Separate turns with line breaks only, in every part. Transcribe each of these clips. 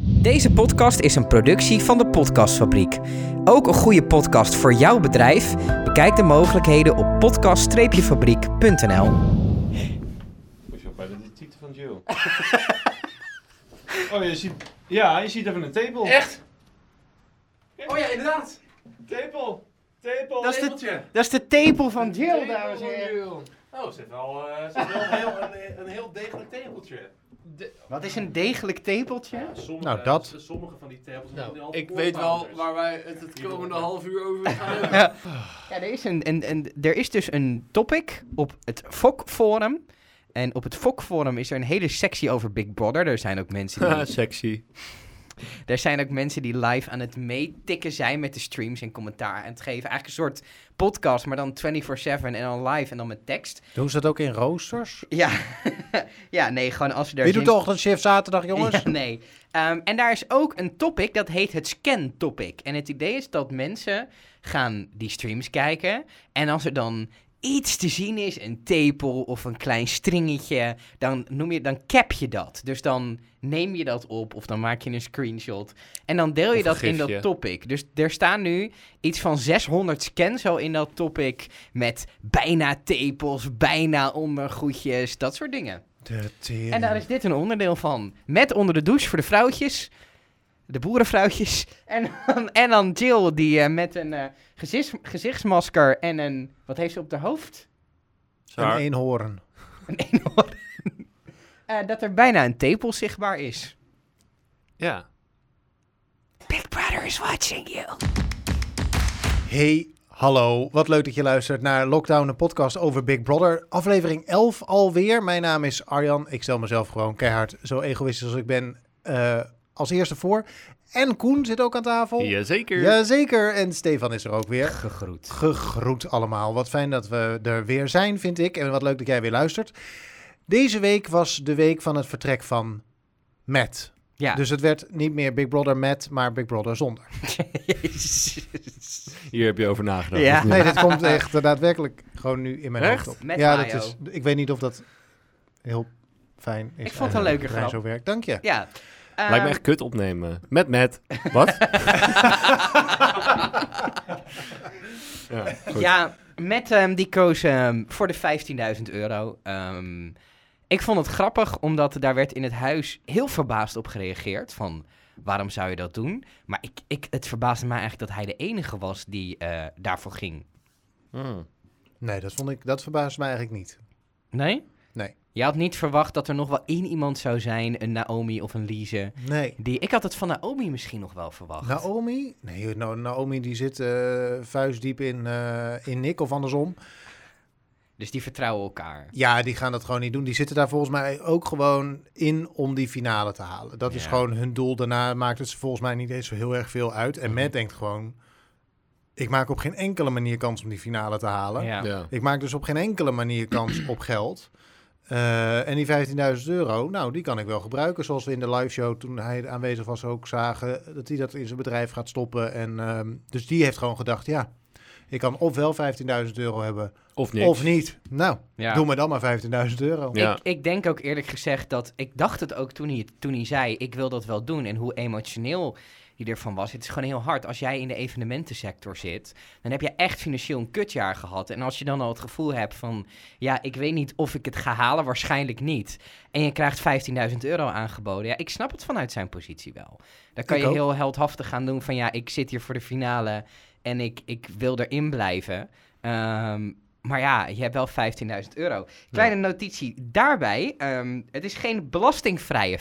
Deze podcast is een productie van de Podcastfabriek. Ook een goede podcast voor jouw bedrijf? Bekijk de mogelijkheden op podcast-fabriek.nl.
Moet je ook bij de detective van Jill. oh, je ziet... Ja, je ziet even een tepel.
Echt? Oh ja, inderdaad.
Tepel. Tepel.
Dat is de
Dat is de tepel van Jill, dames
Oh, er zit wel, eh, er zit wel een, heel, een, een heel degelijk tepeltje.
Wat is een degelijk tepeltje?
Sommige,
Nou, dat.
Sommige van die tepels hebben
Nou,
al
ik weet wel
voorpooters.
waar wij het het
Hier
komende
ook.
half uur over gaan hebben.
Ja, er is, een, en en er is dus een topic op het FOC Forum. En op het FOC Forum is er een hele sectie over Big Brother. Er zijn ook mensen die,
sexy.
er zijn ook mensen die live aan het meetikken zijn met de streams en commentaar. En het geven eigenlijk een soort podcast, maar dan 24-7 en dan live en dan met tekst.
Doen ze dat ook in roosters?
Ja, ja nee, gewoon als ze er
Wie
zin-
doet de ochtendshift zaterdag, jongens?
Ja, nee. Ehm, en daar is ook een topic dat heet het scan topic. En het idee is dat mensen gaan die streams kijken. En als er dan iets te zien is, een tepel of een klein stringetje, dan, noem je, dan cap je dat. Dus dan neem je dat op of dan maak je een screenshot. En dan deel je
Of een
dat in dat
gifje.
topic. Dus er staan nu iets van 600 scans al in dat topic met bijna tepels, bijna ondergoedjes, dat soort dingen.
De tering.
En daar is dit een onderdeel van. Met onder de douche voor de vrouwtjes. De boerenvrouwtjes. En dan, en dan Jill, die eh, met een eh, gezichts- gezichtsmasker en een... Wat heeft ze op haar hoofd?
Een eenhoorn.
Een eenhoorn. Eh, dat er bijna een tepel zichtbaar is.
Ja.
Big Brother is watching you.
Hey, hallo. Wat leuk dat je luistert naar Lockdown, een podcast over Big Brother. Aflevering 11 alweer. Mijn naam is Arjan. Ik stel mezelf gewoon keihard, zo egoïstisch als ik ben, eh, als eerste voor. En Koen zit ook aan tafel.
Jazeker.
Jazeker. En Stefan is er ook weer.
Gegroet.
Gegroet allemaal. Wat fijn dat we er weer zijn, vind ik. En wat leuk dat jij weer luistert. Deze week was de week van het vertrek van Matt.
Ja.
Dus het werd niet meer Big Brother met, maar Big Brother zonder.
Hier heb je over nagedacht.
Ja.
of niet?
Nee, dat komt echt eh, daadwerkelijk gewoon nu in mijn
Echt?
hoofd op.
Met
ja,
Mayo.
dat is, ik weet niet of dat heel fijn is.
Ik vond het een leuke
Dat hij
grap.
Zo werkt. Dank je.
Ja.
Lijkt me
Ehm,
echt kut opnemen. Met Matt. Wat? ja, goed.
Ja, met ehm, die koos ehm, voor de 15.000 euro. Ehm, ik vond het grappig, omdat daar werd in het huis heel verbaasd op gereageerd. Van, waarom zou je dat doen? Maar ik, ik, het verbaasde mij eigenlijk dat hij de enige was die eh, daarvoor ging.
Hmm.
Nee, dat, vond ik, dat verbaast mij eigenlijk niet.
Nee?
Nee.
Je had niet verwacht dat er nog wel één iemand zou zijn, een Naomi of een Lise.
Nee.
Die, ik had het van Naomi misschien nog wel verwacht.
Naomi? Nee, Na- Naomi die zit eh, vuistdiep in, eh, in Nick of andersom.
Dus die vertrouwen elkaar.
Ja, die gaan dat gewoon niet doen. Die zitten daar volgens mij ook gewoon in om die finale te halen. Dat is
Ja.
gewoon hun doel. Daarna maakt het ze volgens mij niet eens zo heel erg veel uit. En Matt denkt gewoon... Ik maak op geen enkele manier kans om die finale te halen.
Ja.
Ja.
Ik maak dus op geen enkele manier kans op geld. Eh, en die 15.000 euro, nou, die kan ik wel gebruiken. Zoals we in de liveshow toen hij aanwezig was ook zagen... dat hij dat in zijn bedrijf gaat stoppen. En, ehm, dus die heeft gewoon gedacht, ja... Ik kan ofwel 15.000 euro hebben
Of niks.
of niet. Nou,
Ja.
doe me dan maar 15.000 euro.
Ja.
Ik, ik denk ook eerlijk gezegd dat ik dacht het ook toen hij, het- toen hij zei: Ik wil dat wel doen. En hoe emotioneel hij ervan was. Het is gewoon heel hard. Als jij in de evenementensector zit, dan heb je echt financieel een kutjaar gehad. En als je dan al het gevoel hebt van: Ja, ik weet niet of ik het ga halen, waarschijnlijk niet. En je krijgt 15.000 euro aangeboden. Ja, ik snap het vanuit zijn positie wel. Dan kan
Ik
je
ook.
heel heldhaftig gaan doen van: Ja, ik zit hier voor de finale en ik, ik wil erin blijven. Ehm, maar ja, je hebt wel 15.000 euro. Kleine notitie daarbij. ehm, het is geen belastingvrije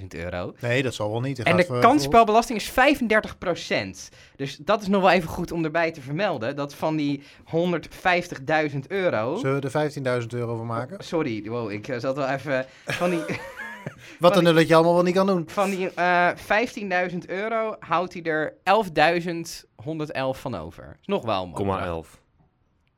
15.000 euro.
Nee, dat zal wel niet. Dan
En
gaat eh,
de
voor-
kansspelbelasting is 35%. Dus dat is nog wel even goed om erbij te vermelden. Dat van die 150.000 euro...
voor- Zullen we er 15.000 euro van maken?
Sorry, wow, ik eh, zat wel even... Van die,
Wat een dat je allemaal wel niet kan doen.
van die eh 15.000 euro houdt hij er 11.111 van over. Is nog wel, man.
Komma 11.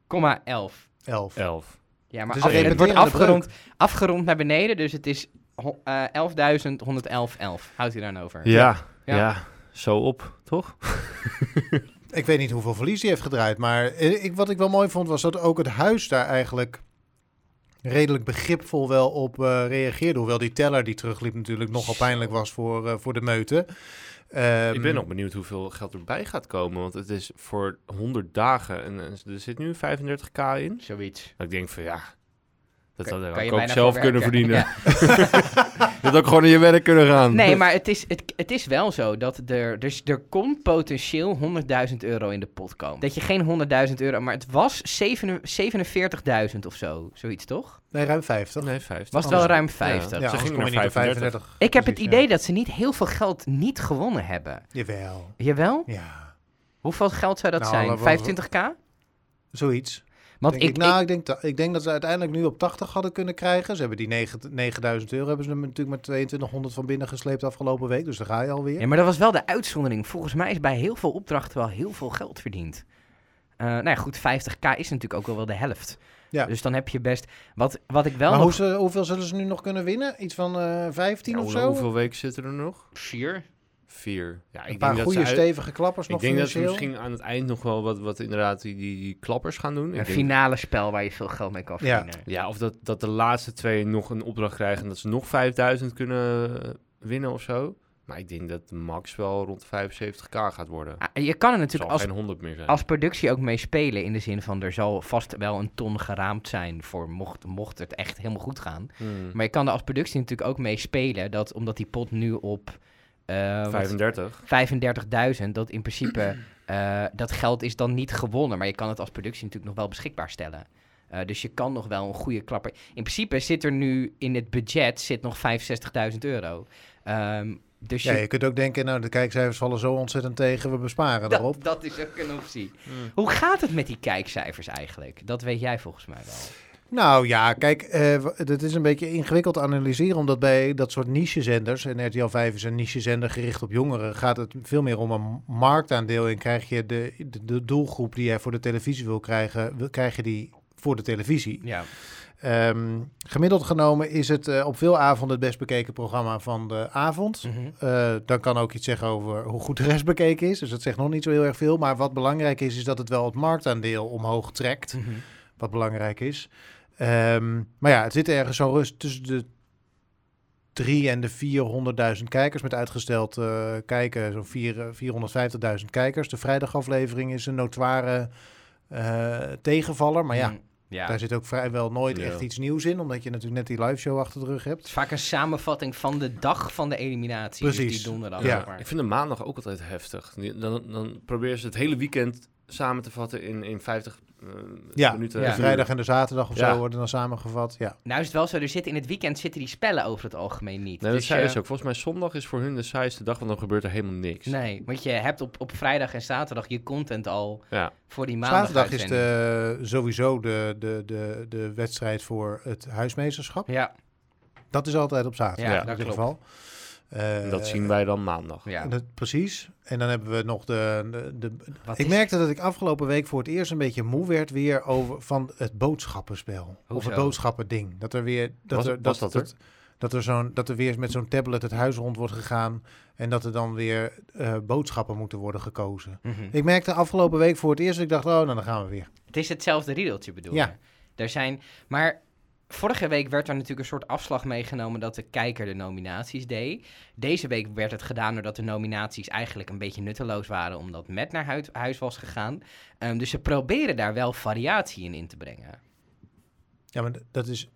11.
11.
11.
Ja, maar
Dus
af-
een
het wordt
repeterende
afgerond, afgerond naar beneden, dus het is ho- eh, 11.111. Houdt hij dan over?
Ja.
Ja.
ja. Zo op, toch?
Ik weet niet hoeveel verlies die heeft gedraaid. Maar eh, ik, wat ik wel mooi vond was dat ook het huis daar eigenlijk redelijk begripvol wel op eh, reageerde. Hoewel die teller die terugliep natuurlijk nogal pijnlijk was voor, eh, voor de meute. Ehm,
Ik ben nog benieuwd hoeveel geld erbij gaat komen. Want het is voor 100 dagen. En, en er zit nu 35k in.
Zoiets.
Dat ik denk van ja, dat
Kan-
had
kan je
ik ook
bijna
zelf
voor
kunnen
werken.
verdienen. Dat had ook gewoon in je werk kunnen gaan.
Nee, maar het is, het, het is wel zo dat er, dus er kon potentieel 100.000 euro in de pot komen. Dat je geen 100.000 euro, maar het was 47 47.000 of zo. Zoiets toch?
Nee, ruim 50.
Nee, 50.
Was het
Oh,
wel
zo.
ruim 50.
Ze
anders
gingen
kom je
naar
niet op
35.
Ik heb het
Precies,
idee
Dus ja.
dat ze niet heel veel geld niet gewonnen hebben.
Jawel.
Jawel?
Ja,
Hoeveel geld zou dat
Nou,
zijn?
laten we-
25k?
zoiets.
Want
denk
ik,
ik, nou, ik, denk dat, ik denk dat ze uiteindelijk nu op 80 hadden kunnen krijgen. Ze hebben die negen- 9000 euro hebben ze hem natuurlijk met 2200 van binnen gesleept afgelopen week. Dus daar ga je alweer.
Ja, maar dat was wel de uitzondering. Volgens mij is bij heel veel opdrachten wel heel veel geld verdiend. Eh nou ja, goed, 50k is natuurlijk ook wel wel de helft.
Ja.
Dus dan heb je best... Wat, wat ik wel
maar
nog...
hoe ze- hoeveel zullen ze nu nog kunnen winnen? Iets van eh 15
Ja,
of
hoe-
zo?
Hoeveel weken zitten er nog?
Sure.
Vier. Ja,
Een paar goede,
dat ze uit-
stevige klappers
Ik
nog
denk dat ze
financieel.
misschien aan het eind nog wel wat, wat inderdaad die, die, die klappers gaan doen. Ik
Een
denk-
finale spel waar je veel geld mee kan
Ja.
verdienen.
ja, of dat, dat de laatste twee nog een opdracht krijgen en dat ze nog 5000 kunnen eh, winnen of zo. Maar ik denk dat max wel rond de 75k gaat worden. Het
Ah, Je kan er
zal
natuurlijk als,
geen 100 meer zijn.
als productie ook mee spelen. In de zin van, er zal vast wel een ton geraamd zijn voor mocht, mocht het echt helemaal goed gaan.
Hmm.
Hm. Maar je kan er als productie natuurlijk ook mee spelen. Dat, omdat die pot nu op... eh, wat-
35.
35.000, dat in principe eh, dat geld is dan niet gewonnen. Maar je kan het als productie natuurlijk nog wel beschikbaar stellen. Eh, dus je kan nog wel een goede klapper. In principe zit er nu in het budget zit nog 65.000 euro. Ehm, dus
Ja,
je-
je kunt ook denken, nou, de kijkcijfers vallen zo ontzettend tegen, we besparen daarop.
dat, dat is ook een optie. Hoe gaat het met die kijkcijfers eigenlijk? Dat weet jij volgens mij wel.
Nou ja, kijk, eh, w- dat is een beetje ingewikkeld te analyseren, omdat bij dat soort nichezenders, en RTL 5 is een nichezender gericht op jongeren, gaat het veel meer om een marktaandeel en krijg je de, de, de doelgroep die jij voor de televisie wil krijgen, wil, krijg je die voor de televisie.
Ja.
Ehm, gemiddeld genomen is het eh, op veel avonden het best bekeken programma van de
Hm.
avond.
Mhm.
Eh, dan kan ook iets zeggen over hoe goed de rest bekeken is. Dus dat zegt nog niet zo heel erg veel. Maar wat belangrijk is, is dat het wel het marktaandeel omhoog trekt.
Hm. Mhm.
Wat belangrijk is. Ehm, maar ja, het zit ergens zo rust tussen de 3 en de 400.000 kijkers. Met uitgesteld eh, kijken zo'n vier- eh, 450.000 kijkers. De vrijdagaflevering is een notoire eh, tegenvaller. Maar ja,
Mm, ja.
daar zit ook vrijwel nooit
Ja.
echt iets nieuws in. Omdat je natuurlijk net die live show achter de rug
Het
hebt.
is vaak een samenvatting van de dag van de eliminatie. dus
Precies.
die donderdag.
Ja.
zeg maar.
Ik vind de maandag ook altijd heftig. Die- Dan, dan proberen ze het hele weekend samen te vatten in, in 50 eh,
Ja,
minuten.
de
De vrijdag en de zaterdag of
Ja.
zo worden dan samengevat. Ja.
Nou is het wel zo, er zitten in het weekend zitten die spellen over het algemeen niet.
Nee, dat
Dus
zei
je-
ze ook. Volgens mij zondag is voor hun de saaiste dag, want dan gebeurt er helemaal niks.
Nee, want je hebt op, op vrijdag en zaterdag je content al
Ja.
voor die maandag.
Zaterdag is
uitzending.
de, sowieso de, de, de, de wedstrijd voor het huismeesterschap.
Ja,
Dat is altijd op
ja,
zaterdag
dat
in ieder
klopt.
geval. Eh,
En dat zien wij dan maandag.
Ja.
dat- precies. En dan hebben we nog de... de, de-
Wat
ik
is-
merkte dat ik afgelopen week voor het eerst een beetje moe werd weer over van het boodschappenspel. Of het
Hoezo?
boodschappending. Dat er weer... Dat
Was-
er,
was dat er?
dat, dat er, zo'n, dat er weer met zo'n tablet het huis rond wordt gegaan. En dat er dan weer eh, boodschappen moeten worden gekozen.
Mhm.
Ik merkte afgelopen week voor het eerst dat ik dacht, oh, nou, dan gaan we weer.
Het is hetzelfde riedeltje bedoel
Ja.
je? Er zijn, maar vorige week werd er natuurlijk een soort afslag meegenomen dat de kijker de nominaties deed. Deze week werd het gedaan doordat de nominaties eigenlijk een beetje nutteloos waren omdat Matt naar huid- huis was gegaan. Ehm, dus ze proberen daar wel variatie in in te brengen.
Ja, maar d- dat is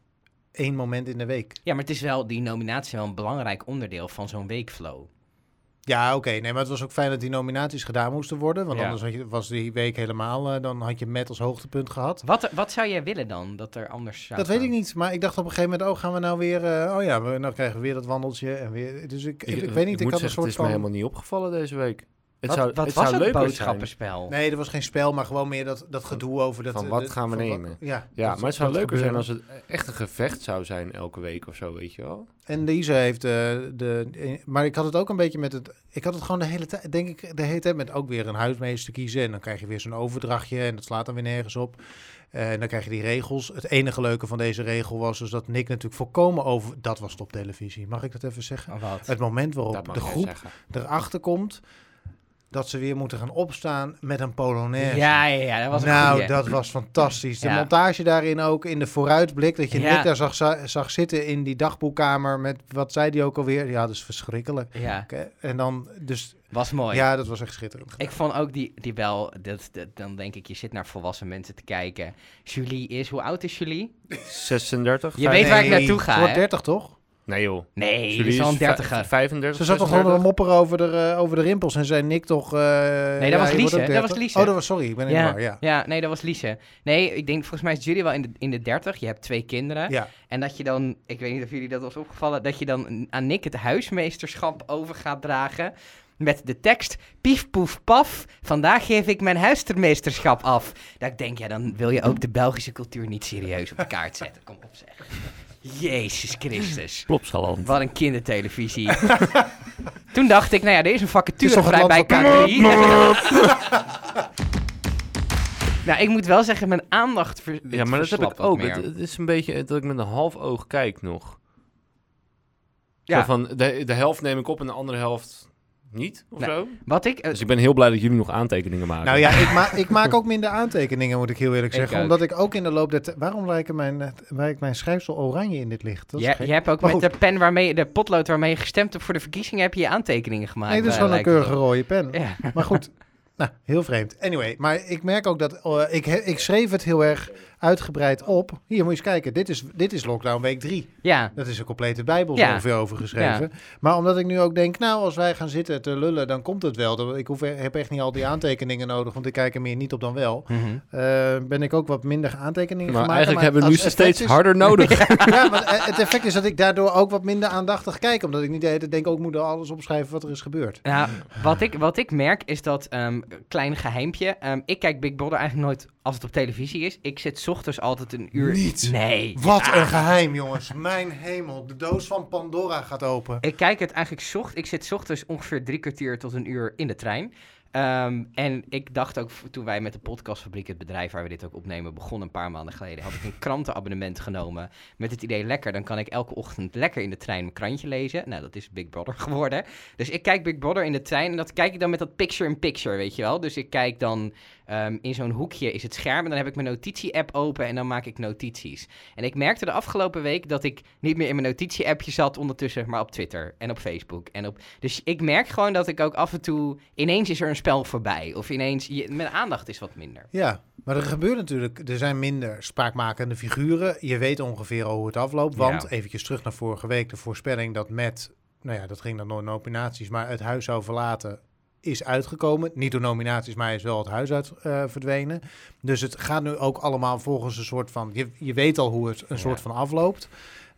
één moment in de week.
Ja, maar het is wel, die nominaties zijn wel een belangrijk onderdeel van zo'n weekflow.
Ja, oké. Nee, maar het was ook fijn dat die nominaties gedaan moesten worden. Want
Ja.
anders had je, was die week helemaal... eh, dan had je met als hoogtepunt gehad.
Wat, wat zou jij willen dan dat er anders zou
dat weet
gaan?
ik niet. Maar ik dacht op een gegeven moment... Oh, gaan we nou weer... eh, oh ja, we, nou krijgen we weer dat wandeltje. En weer, dus ik, ik, ik weet niet. Ik,
eh, moet
had een
zeggen, het
soort
is me
van...
helemaal niet opgevallen deze week. Het
Wat,
zou,
wat
het
was
zou
het
leuk zijn.
boodschappenspel?
Nee, er was geen spel, maar gewoon meer dat, dat gedoe over dat... eh,
van wat
dat-
gaan we
van wat-
nemen?
ja,
Ja,
dat-
maar het zou
dat
leuker zijn
gebeuren.
als het echt een gevecht zou zijn elke week of zo, weet je wel.
En Lisa heeft eh, de, eh, Maar ik had het ook een beetje met het. Ik had het gewoon de hele tijd. Denk ik de hele tijd met ook weer een huismeester kiezen. En dan krijg je weer zo'n overdrachtje. En dat slaat dan weer nergens op. Eh, en dan krijg je die regels. Het enige leuke van deze regel was dus dat Nick natuurlijk voorkomen over. Dat was het op televisie. Mag ik dat even zeggen?
Oh, wat?
Het moment waarop
dat mag
de
jij
groep
zeggen.
erachter komt. dat ze weer moeten gaan opstaan met een polonaise.
Ja, ja, ja, dat was een
nou,
goeie.
dat was fantastisch. De
Ja.
montage daarin ook, in de vooruitblik, dat je
Ja.
net daar zag, za- zag zitten in die dagboekkamer met, wat zei die ook alweer? Ja, dat is verschrikkelijk.
Ja,
Oké, En dan, dus,
was mooi.
ja, dat was echt schitterend.
Ik vond ook die, die bel, dat, dat- dan denk ik, je zit naar volwassen mensen te kijken. Julie is, hoe oud is Julie?
36?
Je weet waar ik naartoe ga,
Ze wordt
hè?
30, toch?
Nee joh.
Nee,
Jullie
die is al een
vij-
dertiger.
35,
Ze zat toch onder een
36?
mopper over de, eh, over de rimpels en zei Nick toch... eh,
dat
ja,
was Lies,
je wordt ook
hè? Dat
30.
was Lies, hè?
Oh, dat was, sorry, ik ben in de war, ja.
ja, nee, dat was Lise. Nee, ik denk, volgens mij is Julie wel in de, in de dertig. Je hebt twee kinderen.
Ja,
En dat je dan, ik weet niet of jullie dat was opgevallen, dat je dan aan Nick het huismeesterschap over gaat dragen. Met de tekst, pief poef paf, vandaag geef ik mijn huismeesterschap af. Dat ik denk, ja, dan wil je ook de Belgische cultuur niet serieus op de kaart zetten. Kom op zeg. Jezus Christus.
Plopsaland.
Wat een kindertelevisie. Toen dacht ik, nou ja, er is een vacature
Het is toch
vrij
het
bij
land
K3. nou, ik moet wel zeggen, mijn aandacht ver- het
Ja, maar dat heb
verslapt
ik
wat
ook.
meer.
Het, het is een beetje dat ik met een half oog kijk nog.
Ja.
Ja. van, de, de helft neem ik op en de andere helft niet, of
Nee.
zo.
Wat ik... eh,
Dus ik ben heel blij dat jullie nog aantekeningen maken.
nou ja, ik, ma ik maak ook minder aantekeningen, moet ik heel eerlijk
Ik
zeggen.
ook.
Omdat ik ook in de loop der... t- Waarom lijken mijn, eh, lijkt mijn schrijfsel oranje in dit licht? Dat is
Je,
gek.
je hebt ook
Maar
met de pen waarmee, de potlood waarmee je gestemd hebt voor de verkiezingen, heb je je aantekeningen gemaakt.
Nee, dat is
eh,
gewoon een
lijkt het
keurige rode pen.
op. Ja.
Maar goed, nou, heel vreemd. Anyway, maar ik merk ook dat... eh, ik, he- ik schreef het heel erg uitgebreid op. Hier, moet je eens kijken. Dit is, dit is lockdown week 3.
ja.
Dat is een complete bijbel
Ja.
zoveel over geschreven. Maar omdat ik nu ook denk, nou, als wij gaan zitten te lullen, dan komt het wel. Dan- Ik hoef, heb echt niet al die aantekeningen nodig, want ik kijk er meer niet op dan wel.
Mhm.
Eh, ben ik ook wat minder aantekeningen
maar
gaan maken.
eigenlijk hebben we nu
als
ze
effect
steeds
is-
harder nodig.
Ja, want eh, het effect is dat ik daardoor ook wat minder aandachtig kijk. Omdat ik niet de hele tijd denk, ook moet er alles opschrijven wat er is gebeurd.
Nou, wat ik, wat ik merk is dat, ehm, klein geheimpje, ehm, ik kijk Big Brother eigenlijk nooit als het op televisie is. Ik zit 's ochtends altijd een uur...
Niet?
Nee.
Wat een geheim, jongens. Mijn hemel. De doos van Pandora gaat open.
Ik kijk het eigenlijk zocht. Ik zit 's ochtends ongeveer drie kwartier tot een uur in de trein. Ehm, en ik dacht ook v- toen wij met de podcastfabriek, het bedrijf waar we dit ook opnemen, begonnen een paar maanden geleden, had ik een krantenabonnement genomen met het idee lekker. Dan kan ik elke ochtend lekker in de trein mijn krantje lezen. Nou, dat is Big Brother geworden. Dus ik kijk Big Brother in de trein en dat kijk ik dan met dat picture-in-picture, weet je wel. Dus ik kijk dan ehm, in zo'n hoekje is het scherm en dan heb ik mijn notitie-app open en dan maak ik notities. En ik merkte de afgelopen week dat ik niet meer in mijn notitie-appje zat ondertussen, maar op Twitter en op Facebook. En op... Dus ik merk gewoon dat ik ook af en toe... Ineens is er een spel voorbij. Of ineens... je- mijn aandacht is wat minder.
Ja, maar er gebeurt natuurlijk, er zijn minder spraakmakende figuren. Je weet ongeveer al hoe het afloopt, want
Ja.
eventjes terug naar vorige week, de voorspelling dat met, nou ja, dat ging dan door nominaties, maar het huis zou verlaten is uitgekomen. Niet door nominaties, maar hij is wel het huis uit eh, verdwenen. Dus het gaat nu ook allemaal volgens een soort van, je, je weet al hoe het een soort
Ja.
van afloopt.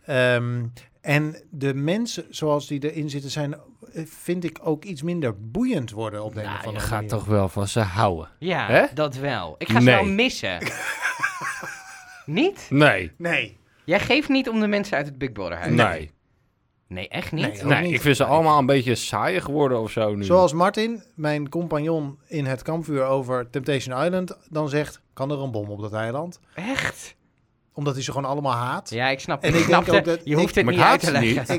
Ehm, en de mensen zoals die erin zitten zijn, eh, vind ik ook iets minder boeiend worden op de een of
Nou, je
andere
gaat
manier.
toch wel van ze houden.
Ja,
Hè?
dat wel. Ik ga ze wel
Nee.
missen. niet?
Nee,
Nee,
Jij geeft niet om de mensen uit het Big Brother huis.
nee. Nee,
Nee, echt niet?
Nee, ook niet.
ik vind ze allemaal een beetje saaier geworden of zo nu.
Zoals Martin, mijn compagnon in het kampvuur over Temptation Island, dan zegt: kan er een bom op dat eiland?
Echt?
Omdat hij ze gewoon allemaal haat.
Ja, ik snap
En
ik
ik denk
snapte-
ook dat-
Je hoeft
ik-
het
Maar
niet
ik
uit
haat
te
ze niet.
leggen.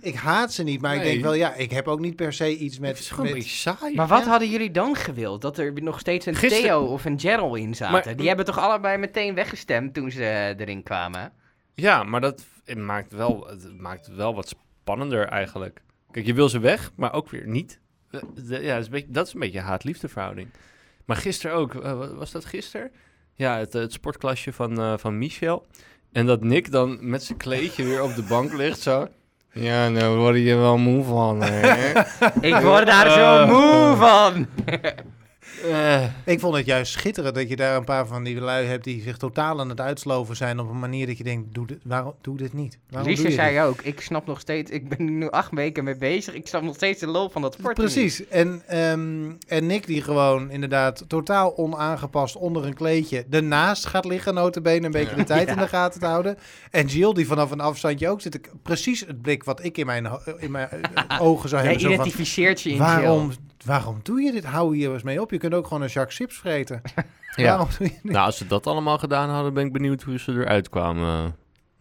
Ik, ik haat ze niet, maar ik
Nee.
denk wel, ja, ik heb ook niet per se iets
Het
met.
is gewoon een
met-
beetje saai.
Maar wat
Ja.
hadden jullie dan gewild? Dat er nog steeds een
Gisteren-
Theo of een Gerald in zaten?
Maar-
Die hebben toch allebei meteen weggestemd toen ze eh, erin kwamen?
Ja, maar dat het maakt, wel, het maakt wel wat spannender eigenlijk. Kijk, je wil ze weg, maar ook weer niet. Eh, de- Ja, dat is een beetje, dat is een beetje een haat-liefde verhouding. Maar gisteren ook, eh, wa- was dat gisteren? Ja, het, eh, het sportklasje van, eh, van Michel. En dat Nick dan met zijn kleedje weer op de bank ligt zo. Ja, nou word je wel moe van. hè?
Ik word daar zo moe van.
Eh,
Ik vond het juist schitterend dat je daar een paar van die lui hebt die zich totaal aan het uitsloven zijn op een manier dat je denkt: doe dit, waarom doe dit niet? Waarom doe
Lise
je dit?
zei ook, ik snap nog steeds, ik ben nu acht weken mee bezig, ik snap nog steeds de loop van dat sport. niet.
Precies. En, ehm, en Nick die gewoon inderdaad totaal onaangepast onder een kleedje ernaast gaat liggen, notabene een beetje de tijd in de gaten te houden. En Jill die vanaf een afstandje ook zit. Ik- Precies het blik wat ik in mijn, ho- in mijn eh, ogen zou
Jij
hebben. zo van,
identificeert je in
waarom, waarom doe je dit? Hou hier eens mee op. Je kunt ook gewoon een zak chips vreten.
ja.
Waarom doe je dit?
Nou, als ze dat allemaal gedaan hadden, ben ik benieuwd hoe ze eruit kwamen eh,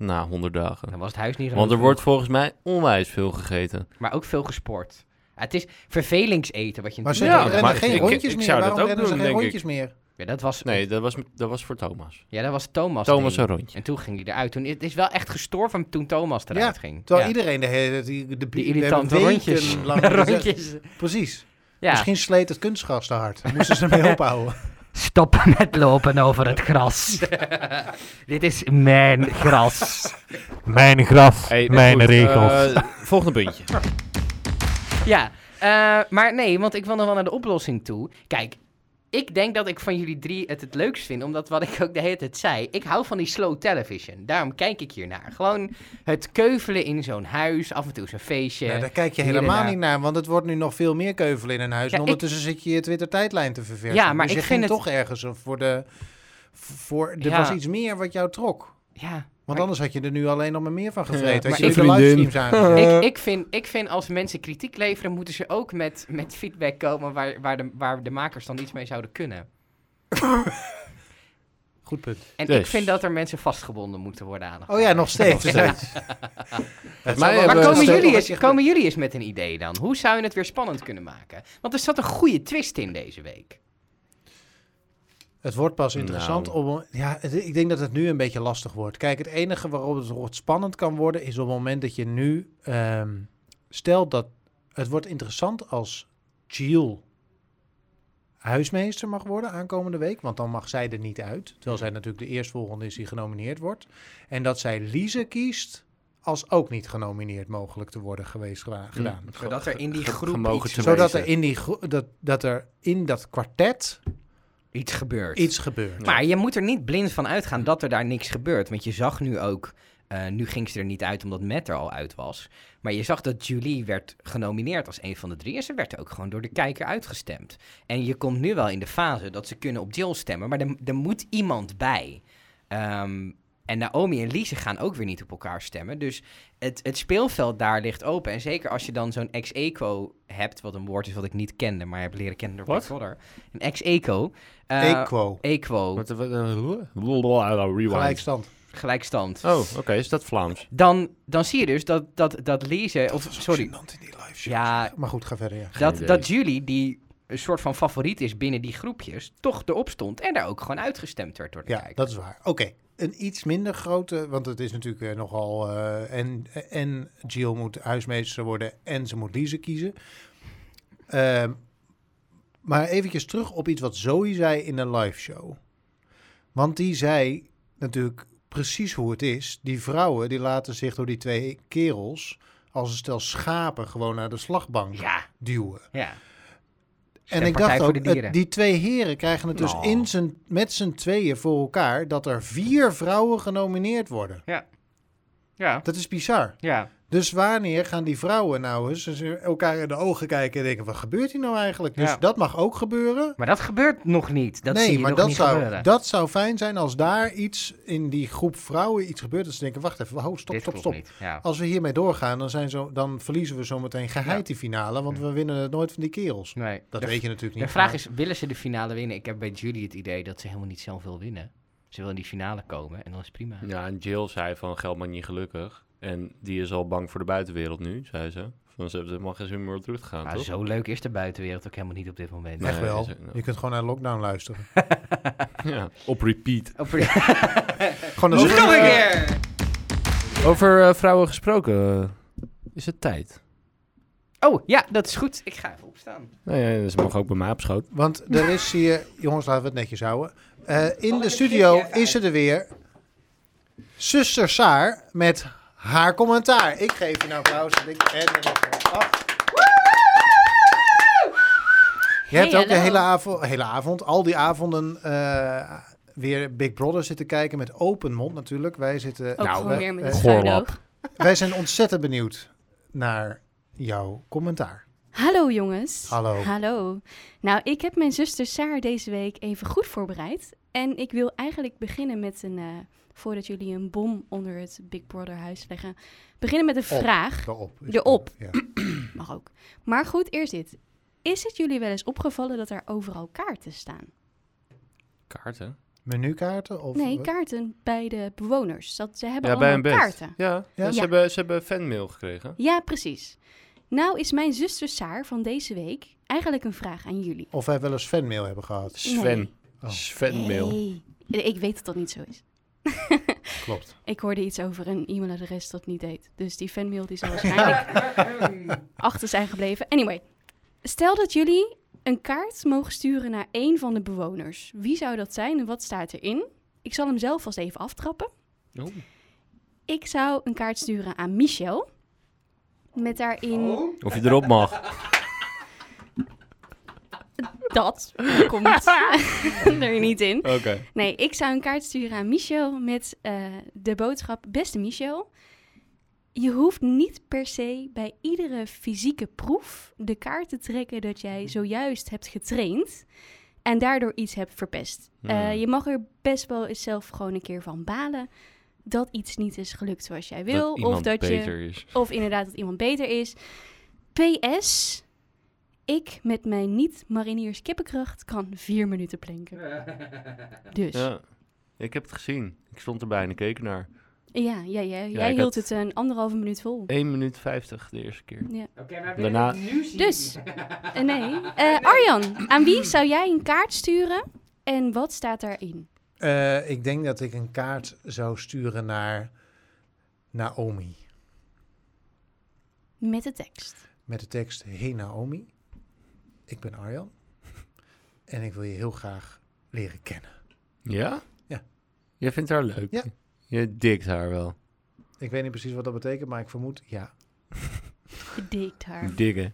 na 100 dagen.
Dan was het huis niet
Want
genoeg.
er wordt volgens mij onwijs veel gegeten.
Maar ook veel gesport. Ja, het is vervelingseten wat je
Maar ze
Ja,
rennen
maar
geen
ik-
rondjes
ik
meer.
zou dat
Waarom
ook
rennen
doen,
ze geen
denk ik.
rondjes meer?
Ja, dat was,
Nee, dat was, dat was voor Thomas.
ja, dat was Thomas.
Thomas
ding.
een rondje.
En toen ging hij eruit. Toen, het is wel echt gestorven toen Thomas eruit ging.
Terwijl
ja.
iedereen de hele die,
Die
de, we hebben
irritante
weken
rondjes.
lang gezegd-
Rondjes.
Precies.
Ja.
Misschien sleet het kunstgras te hard. Dan moesten ze ermee ophouden.
Stoppen met lopen over het gras. Dit is mijn gras.
Mijn gras,
Hey,
mijn
goed,
regels.
eh, volgende puntje.
Ja, eh, maar nee, want ik wil nog wel naar de oplossing toe. Kijk, ik denk dat ik van jullie drie het het leukst vind, omdat wat ik ook de hele tijd zei, ik hou van die slow television. Daarom kijk ik hier naar. Gewoon het keuvelen in zo'n huis, af en toe zo'n feestje.
Nou, daar kijk je
Hier en
helemaal
daar.
niet naar, want het wordt nu nog veel meer keuvelen in een huis.
Ja,
en ondertussen zit je je Twitter-tijdlijn te verversen.
Ja, maar
dus
ik
je
vind
ging
het-
toch ergens voor de... Voor, er
Ja.
was iets meer wat jou trok.
Ja,
Want
maar-
anders had je er nu alleen nog maar meer van gevreten.
maar
had je
ik-
nu de livestreams aangezet.
ik, ik, vind, ik vind als mensen kritiek leveren, moeten ze ook met, met feedback komen waar, waar, de, waar de makers dan iets mee zouden kunnen.
Goed punt.
En ik
Dus.
vind dat er mensen vastgebonden moeten worden aan.
Oh ja, nog steeds. Het zal wel-
Maar
hebben
komen
steeds
jullie,
nog
eens,
wat je-
komen jullie eens met een idee dan? Hoe zou je het weer spannend kunnen maken? Want er zat een goede twist in deze week.
Het wordt pas interessant
Nou.
op... Ja, het- ik denk dat het nu een beetje lastig wordt. Kijk, het enige waarop het wordt spannend kan worden... is op het moment dat je nu... ehm, stelt dat... Het wordt interessant als Jill huismeester mag worden aankomende week. Want dan mag zij er niet uit. Terwijl zij natuurlijk de eerstvolgende is die genomineerd wordt. En dat zij Lise kiest als ook niet genomineerd mogelijk te worden geweest gewa- gedaan.
Zodat er in die
ge-
groep
gemogen
iets,
te
Zodat
wezen.
er in, die gro- dat, dat er in dat kwartet
iets gebeurt.
iets gebeurt.
Maar je moet er niet blind van uitgaan dat er daar niks gebeurt. Want je zag nu ook, eh, nu ging ze er niet uit omdat Matt er al uit was. Maar je zag dat Julie werd genomineerd als een van de drie. En ze werd ook gewoon door de kijker uitgestemd. En je komt nu wel in de fase dat ze kunnen op Jill stemmen. Maar er, er moet iemand bij. Ehm, en Naomi en Lise gaan ook weer niet op elkaar stemmen. Dus het, het speelveld daar ligt open. En zeker als je dan zo'n ex-eco hebt, wat een woord is wat ik niet kende, maar heb leren kennen door Big
Wat?
Brother. Een ex-eco. eh,
Equo.
Equo,
Wat- wat- eh, Rewind.
Gelijkstand.
gelijkstand.
Oh, oké, is dat Vlaams?
Dan, dan zie je dus dat, dat, dat Lise, of sorry,
in die live
ja,
Maar goed, ga verder, ja.
dat,
idee.
dat Julie, die een soort van favoriet is binnen die groepjes, toch erop stond en daar ook gewoon uitgestemd werd door de
Ja,
kijker.
dat is waar. Oké, een iets minder grote, want het is natuurlijk eh, nogal... eh, en, en Jill moet huismeester worden en ze moet Lise kiezen. Ehm, maar eventjes terug op iets wat Zoe zei in een live show. Want die zei natuurlijk precies hoe het is. Die vrouwen die laten zich door die twee kerels als een stel schapen gewoon naar de slagbank
Ja,
duwen.
ja.
En
Stem
ik dacht
Partij voor
ook,
de
het-
Dieren.
die twee heren krijgen het dus
Nou.
in zijn, met z'n tweeën voor elkaar dat er vier vrouwen genomineerd worden.
Ja,
Dat is bizar.
ja.
Dus wanneer gaan die vrouwen nou eens eens elkaar in de ogen kijken en denken, wat gebeurt hier nou eigenlijk? Dus
Ja.
dat mag ook gebeuren.
Maar dat gebeurt nog niet. Dat zie
nee,
je
maar
nog
dat
niet
zou,
gebeuren.
dat zou fijn zijn als daar iets in die groep vrouwen iets gebeurt. Dat ze denken, wacht even, ho, stop,
Dit
stop,
klopt
stop.
niet.
Oh,
Ja.
Als we hiermee doorgaan, dan, zijn zo, dan verliezen we zometeen geheid die finale, want we winnen het nooit van die kerels.
Nee.
Dat
de,
weet je natuurlijk niet.
de vraag
maar-
is, willen ze de finale winnen? Ik heb bij Julie het idee dat ze helemaal niet zelf wil winnen. Ze wil in die finale komen en dan is het prima.
Ja, en Jill zei van geld maakt niet gelukkig. En die is al bang voor de buitenwereld nu, zei ze. Van ze hebben helemaal geen zin meer om terug te gaan,
Maar
toch?
zo leuk is de buitenwereld ook helemaal niet op dit moment.
Nee.
Echt wel.
is ook-
Je kunt gewoon naar lockdown luisteren.
Ja, op repeat.
Oh,
gewoon
Nog
een
een keer!
Over eh, vrouwen gesproken, eh, is het tijd?
Oh, ja, dat is goed. Ik ga even opstaan.
Nou ja, ze mogen ook bij mij op schoot.
Want er is hier, jongens, laten we het netjes houden. Eh,
Oh,
in de studio is ze er weer. Zuster Saar met haar commentaar. Ik geef je nou applaus. En ik- en een applaus. Je hebt
Hey,
ook de
hallo.
hele avond, hele avond al die avonden eh, weer Big Brother zitten kijken met open mond natuurlijk. Wij zitten.
Ook
nou,
gewoon
wij-
weer met
eh,
een
Goorlap.
schuin oog.
wij zijn ontzettend benieuwd naar jouw commentaar.
Hallo jongens.
Hallo.
Hallo. Nou, ik heb mijn zuster Saar deze week even goed voorbereid. En ik wil eigenlijk beginnen met een, eh, voordat jullie een bom onder het Big Brother huis leggen, beginnen met een
Op.
vraag.
Erop. is
Je op.
Ja.
Mag ook. Maar goed, eerst dit. Is het jullie wel eens opgevallen dat er overal kaarten staan?
Kaarten?
Menukaarten? Of
nee, kaarten bij de bewoners. Dat ze hebben
Ja, bij
allemaal
een bed.
kaarten.
Ja, ja, Ze,
Ja.
hebben, ze hebben fanmail gekregen.
Ja, precies. Nou is mijn zuster Saar van deze week eigenlijk een vraag aan jullie.
Of wij wel eens fanmail hebben gehad.
Sven.
Nee.
Oh.
Sven-mail.
Nee. Ik weet dat dat niet zo is.
Klopt.
Ik hoorde iets over een e-mailadres dat niet deed. Dus die fanmail die zal waarschijnlijk achter zijn gebleven. Anyway, stel dat jullie een kaart mogen sturen naar één van de bewoners. Wie zou dat zijn en wat staat erin? Ik zal hem zelf vast even aftrappen.
Oh.
Ik zou een kaart sturen aan Michel. Met daarin
Of je erop mag.
dat. Komt er niet in.
Oké.
Nee, ik zou een kaart sturen aan Michel met eh, de boodschap: Beste Michel, je hoeft niet per se bij iedere fysieke proef de kaart te trekken dat
Hmm.
jij zojuist hebt getraind en daardoor iets hebt verpest. Eh,
Hmm.
je mag er best wel eens zelf gewoon een keer van balen dat iets niet is gelukt zoals jij wil, of
iemand
dat je
beter is.
of inderdaad dat iemand beter is. PS. Ik met mijn niet-mariniers kippenkracht kan vier minuten plinken. Dus. Ja,
Ja. Ik heb het gezien. Ik stond erbij en ik keek naar.
ja, ja, jij
ik
hield
had-
het een anderhalve minuut vol.
1 minuut 50 de eerste keer.
Ja.
Oké, maar
Daarna-
nu zien.
Dus, eh, nee. Eh, Arjan, aan wie zou jij een kaart sturen en wat staat daarin?
Eh, ik denk dat ik een kaart zou sturen naar Naomi.
Met de tekst.
Met de tekst: Hey Naomi, ik ben Arjan. En ik wil je heel graag leren kennen.
Ja?
Ja.
Jij vindt haar leuk?
Ja.
Je dikt haar wel.
Ik weet niet precies wat dat betekent, maar ik vermoed ja.
Gedikt haar.
Diggen.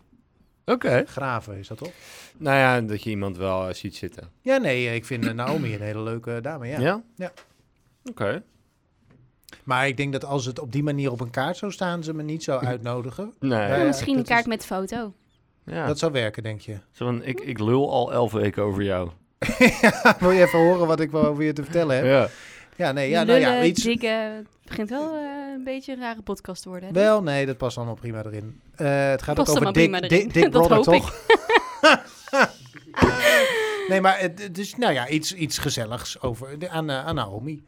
Oké.
Graven is dat toch?
Nou ja, dat je iemand wel eh, ziet zitten.
Ja, nee, ik vind eh, Naomi een hele leuke dame. Ja. Ja.
Oké.
Maar ik denk dat als het op die manier op een kaart zou staan, ze me niet zou uitnodigen.
Nee.
Ja, ja,
Misschien een
dat
kaart
is-
met foto.
Ja.
Dat zou werken, denk je.
Zo van, ik, ik lul al elf weken over jou.
wil je even horen wat ik wel over je te vertellen heb?
Ja.
Ja, nee, ja, nou
Lullen,
ja, iets.
dikke. Het begint wel eh, een beetje een rare podcast te worden. hè?
Wel, nee, dat past allemaal prima erin. Eh, het gaat
Past
ook over
allemaal
Dick,
prima
Dick,
erin.
Dick
Dat
Brother,
hoop ik.
toch? nee, maar het dus, nou ja, iets, iets gezelligs over, de- aan, eh, aan Naomi.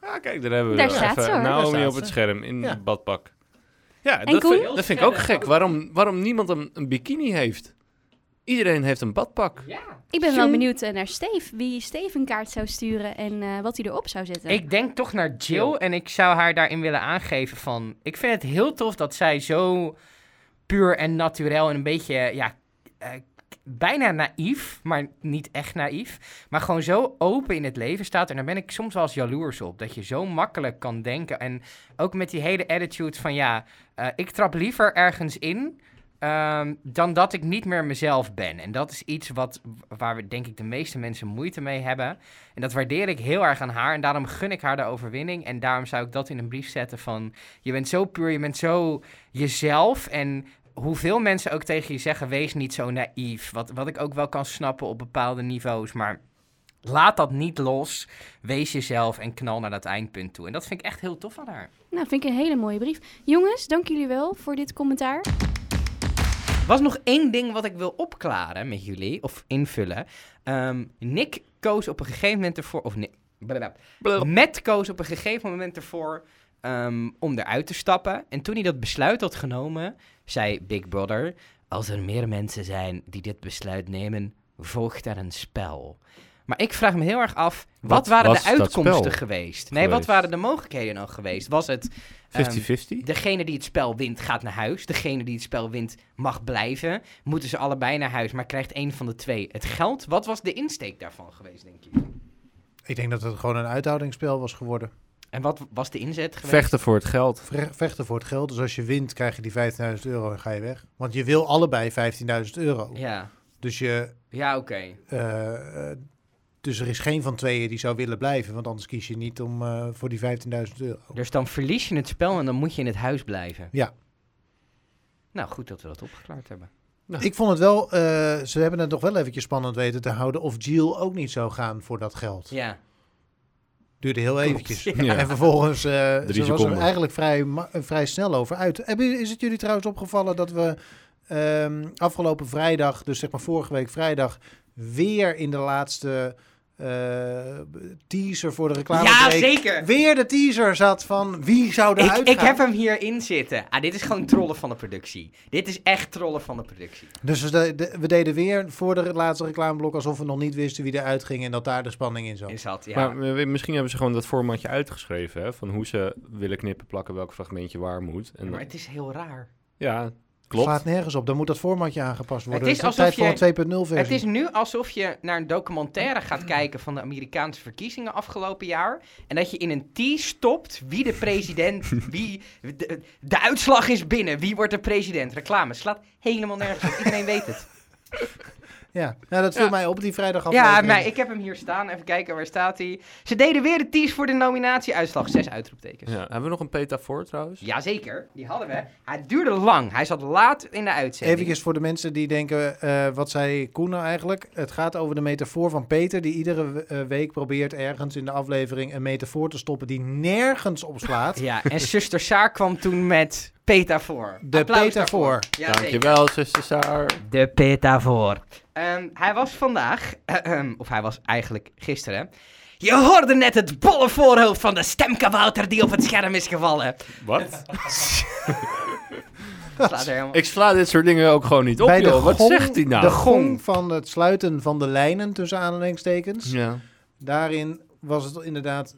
Ah, kijk, daar hebben we
Daar
wel
staat
even
ze, hoor.
Daar
Naomi
staat
op het
ze.
scherm in
Ja.
het badpak. Ja,
En
dat,
Koen?
vind, dat vind ik ook gek. Waarom, waarom niemand een, een bikini heeft? Iedereen heeft een badpak.
Ja.
Ik ben wel benieuwd eh, naar Steve. Wie Steve een kaart zou sturen en eh, wat hij erop zou zetten.
Ik denk toch naar Jill en ik zou haar daarin willen aangeven van... Ik vind het heel tof dat zij zo puur en naturel en een beetje, ja, eh, k- bijna naïef, maar niet echt naïef. Maar gewoon zo open in het leven staat. En daar ben ik soms wel eens jaloers op. Dat je zo makkelijk kan denken. En ook met die hele attitude van, ja, eh, ik trap liever ergens in... ehm, dan dat ik niet meer mezelf ben. En dat is iets wat, waar we denk ik de meeste mensen moeite mee hebben. En dat waardeer ik heel erg aan haar. En daarom gun ik haar de overwinning. En daarom zou ik dat in een brief zetten van... Je bent zo puur, je bent zo jezelf. En hoeveel mensen ook tegen je zeggen... Wees niet zo naïef. Wat, wat ik ook wel kan snappen op bepaalde niveaus. Maar laat dat niet los. Wees jezelf en knal naar dat eindpunt toe. En dat vind ik echt heel tof aan haar.
Nou, vind ik een hele mooie brief. Jongens, dank jullie wel voor dit commentaar.
Er was nog één ding wat ik wil opklaren met jullie. Of invullen. Ehm, Nick koos op een gegeven moment ervoor... Of Nick... blablabla. Met koos op een gegeven moment ervoor ehm, om eruit te stappen. En toen hij dat besluit had genomen, zei Big Brother: Als er meer mensen zijn die dit besluit nemen, volgt er een spel. Maar ik vraag me heel erg af, wat,
Wat
waren
was
de
dat spel
uitkomsten geweest? Nee, wat
geweest?
waren de mogelijkheden dan geweest? Was het ehm,
50-50?
Degene die het spel wint, gaat naar huis. Degene die het spel wint, mag blijven. Moeten ze allebei naar huis, maar krijgt één van de twee het geld? Wat was de insteek daarvan geweest, denk je?
Ik denk dat het gewoon een uithoudingsspel was geworden.
En wat was de inzet geweest?
Vechten voor het geld.
Vre- Vechten voor het geld. Dus als je wint, krijg je die 15.000 euro en ga je weg. Want je wil allebei 15.000 euro.
Ja,
Dus je
ja oké.
Eh, dus er is geen van tweeën die zou willen blijven, want anders kies je niet om eh, voor die 15.000 euro.
Dus dan verlies je het spel en dan moet je in het huis blijven.
Ja.
Nou, goed dat we dat opgeklaard hebben.
Ik vond het wel, eh, ze hebben het nog wel eventjes spannend weten te houden of Jill ook niet zou gaan voor dat geld.
Ja.
Duurde heel eventjes.
Ja.
Ja.
En vervolgens, eh ze was er
seconden.
eigenlijk vrij, ma- eh, vrij snel over uit. Hebben jullie- Is het jullie trouwens opgevallen dat we ehm, afgelopen vrijdag, dus zeg maar vorige week vrijdag, weer in de laatste eh, eh, teaser voor de reclame.
Ja,
break.
zeker!
Weer de teaser zat van wie zou eruit
Ik,
gaan.
ik heb hem hierin zitten. Ah, dit is gewoon trollen van de productie. Dit is echt trollen van de productie.
Dus we, de- de- we deden weer voor de laatste reclameblok alsof we nog niet wisten wie eruit ging en dat daar de spanning in zat.
Is dat, ja.
Maar eh, misschien hebben ze gewoon dat formatje uitgeschreven, hè, van hoe ze willen knippen, plakken, welk fragmentje waar moet. En,
maar het is heel raar.
ja,
Het
klopt.
slaat nergens op. Dan moet dat formatje aangepast worden.
Het
Het
is
is,
alsof
tijd voor
je-
een 2.0 versie.
Het is nu alsof je naar een documentaire gaat kijken van de Amerikaanse verkiezingen afgelopen jaar. En dat je in een tease stopt wie de president, wie... De, de uitslag is binnen, wie wordt de president. Reclame slaat helemaal nergens op. Iedereen weet het.
Ja, nou, dat viel mij op die vrijdag
Ja, maar ik heb hem hier staan. Even kijken, waar staat hij? Ze deden weer de tease voor de nominatieuitslag. Zes uitroeptekens.
Ja, hebben we nog een petafoor trouwens?
Jazeker, die hadden we. Hij duurde lang. Hij zat laat in de uitzending.
Even voor de mensen die denken, eh, wat zei Koen nou eigenlijk? Het gaat over de metafoor van Peter, die iedere eh, week probeert ergens in de aflevering een metafoor te stoppen die nergens op slaat.
Ja, en zuster Saar kwam toen met Petafoor.
De
Applaus
Petafoor.
daarvoor. Ja, zeker.
Dankjewel, zuster Saar.
De Petafoor. Ehm, hij was vandaag, ehm, of hij was eigenlijk gisteren. Je hoorde net het bolle voorhoofd van de stemkabouter die op het scherm is gevallen.
Wat?
Slaat er helemaal...
Ik sla dit soort dingen ook gewoon niet op,
Bij de
joh. Wat
gong-
zegt hij nou?
De gong van het sluiten van de lijnen tussen aanhalingstekens.
Ja.
Daarin was het inderdaad,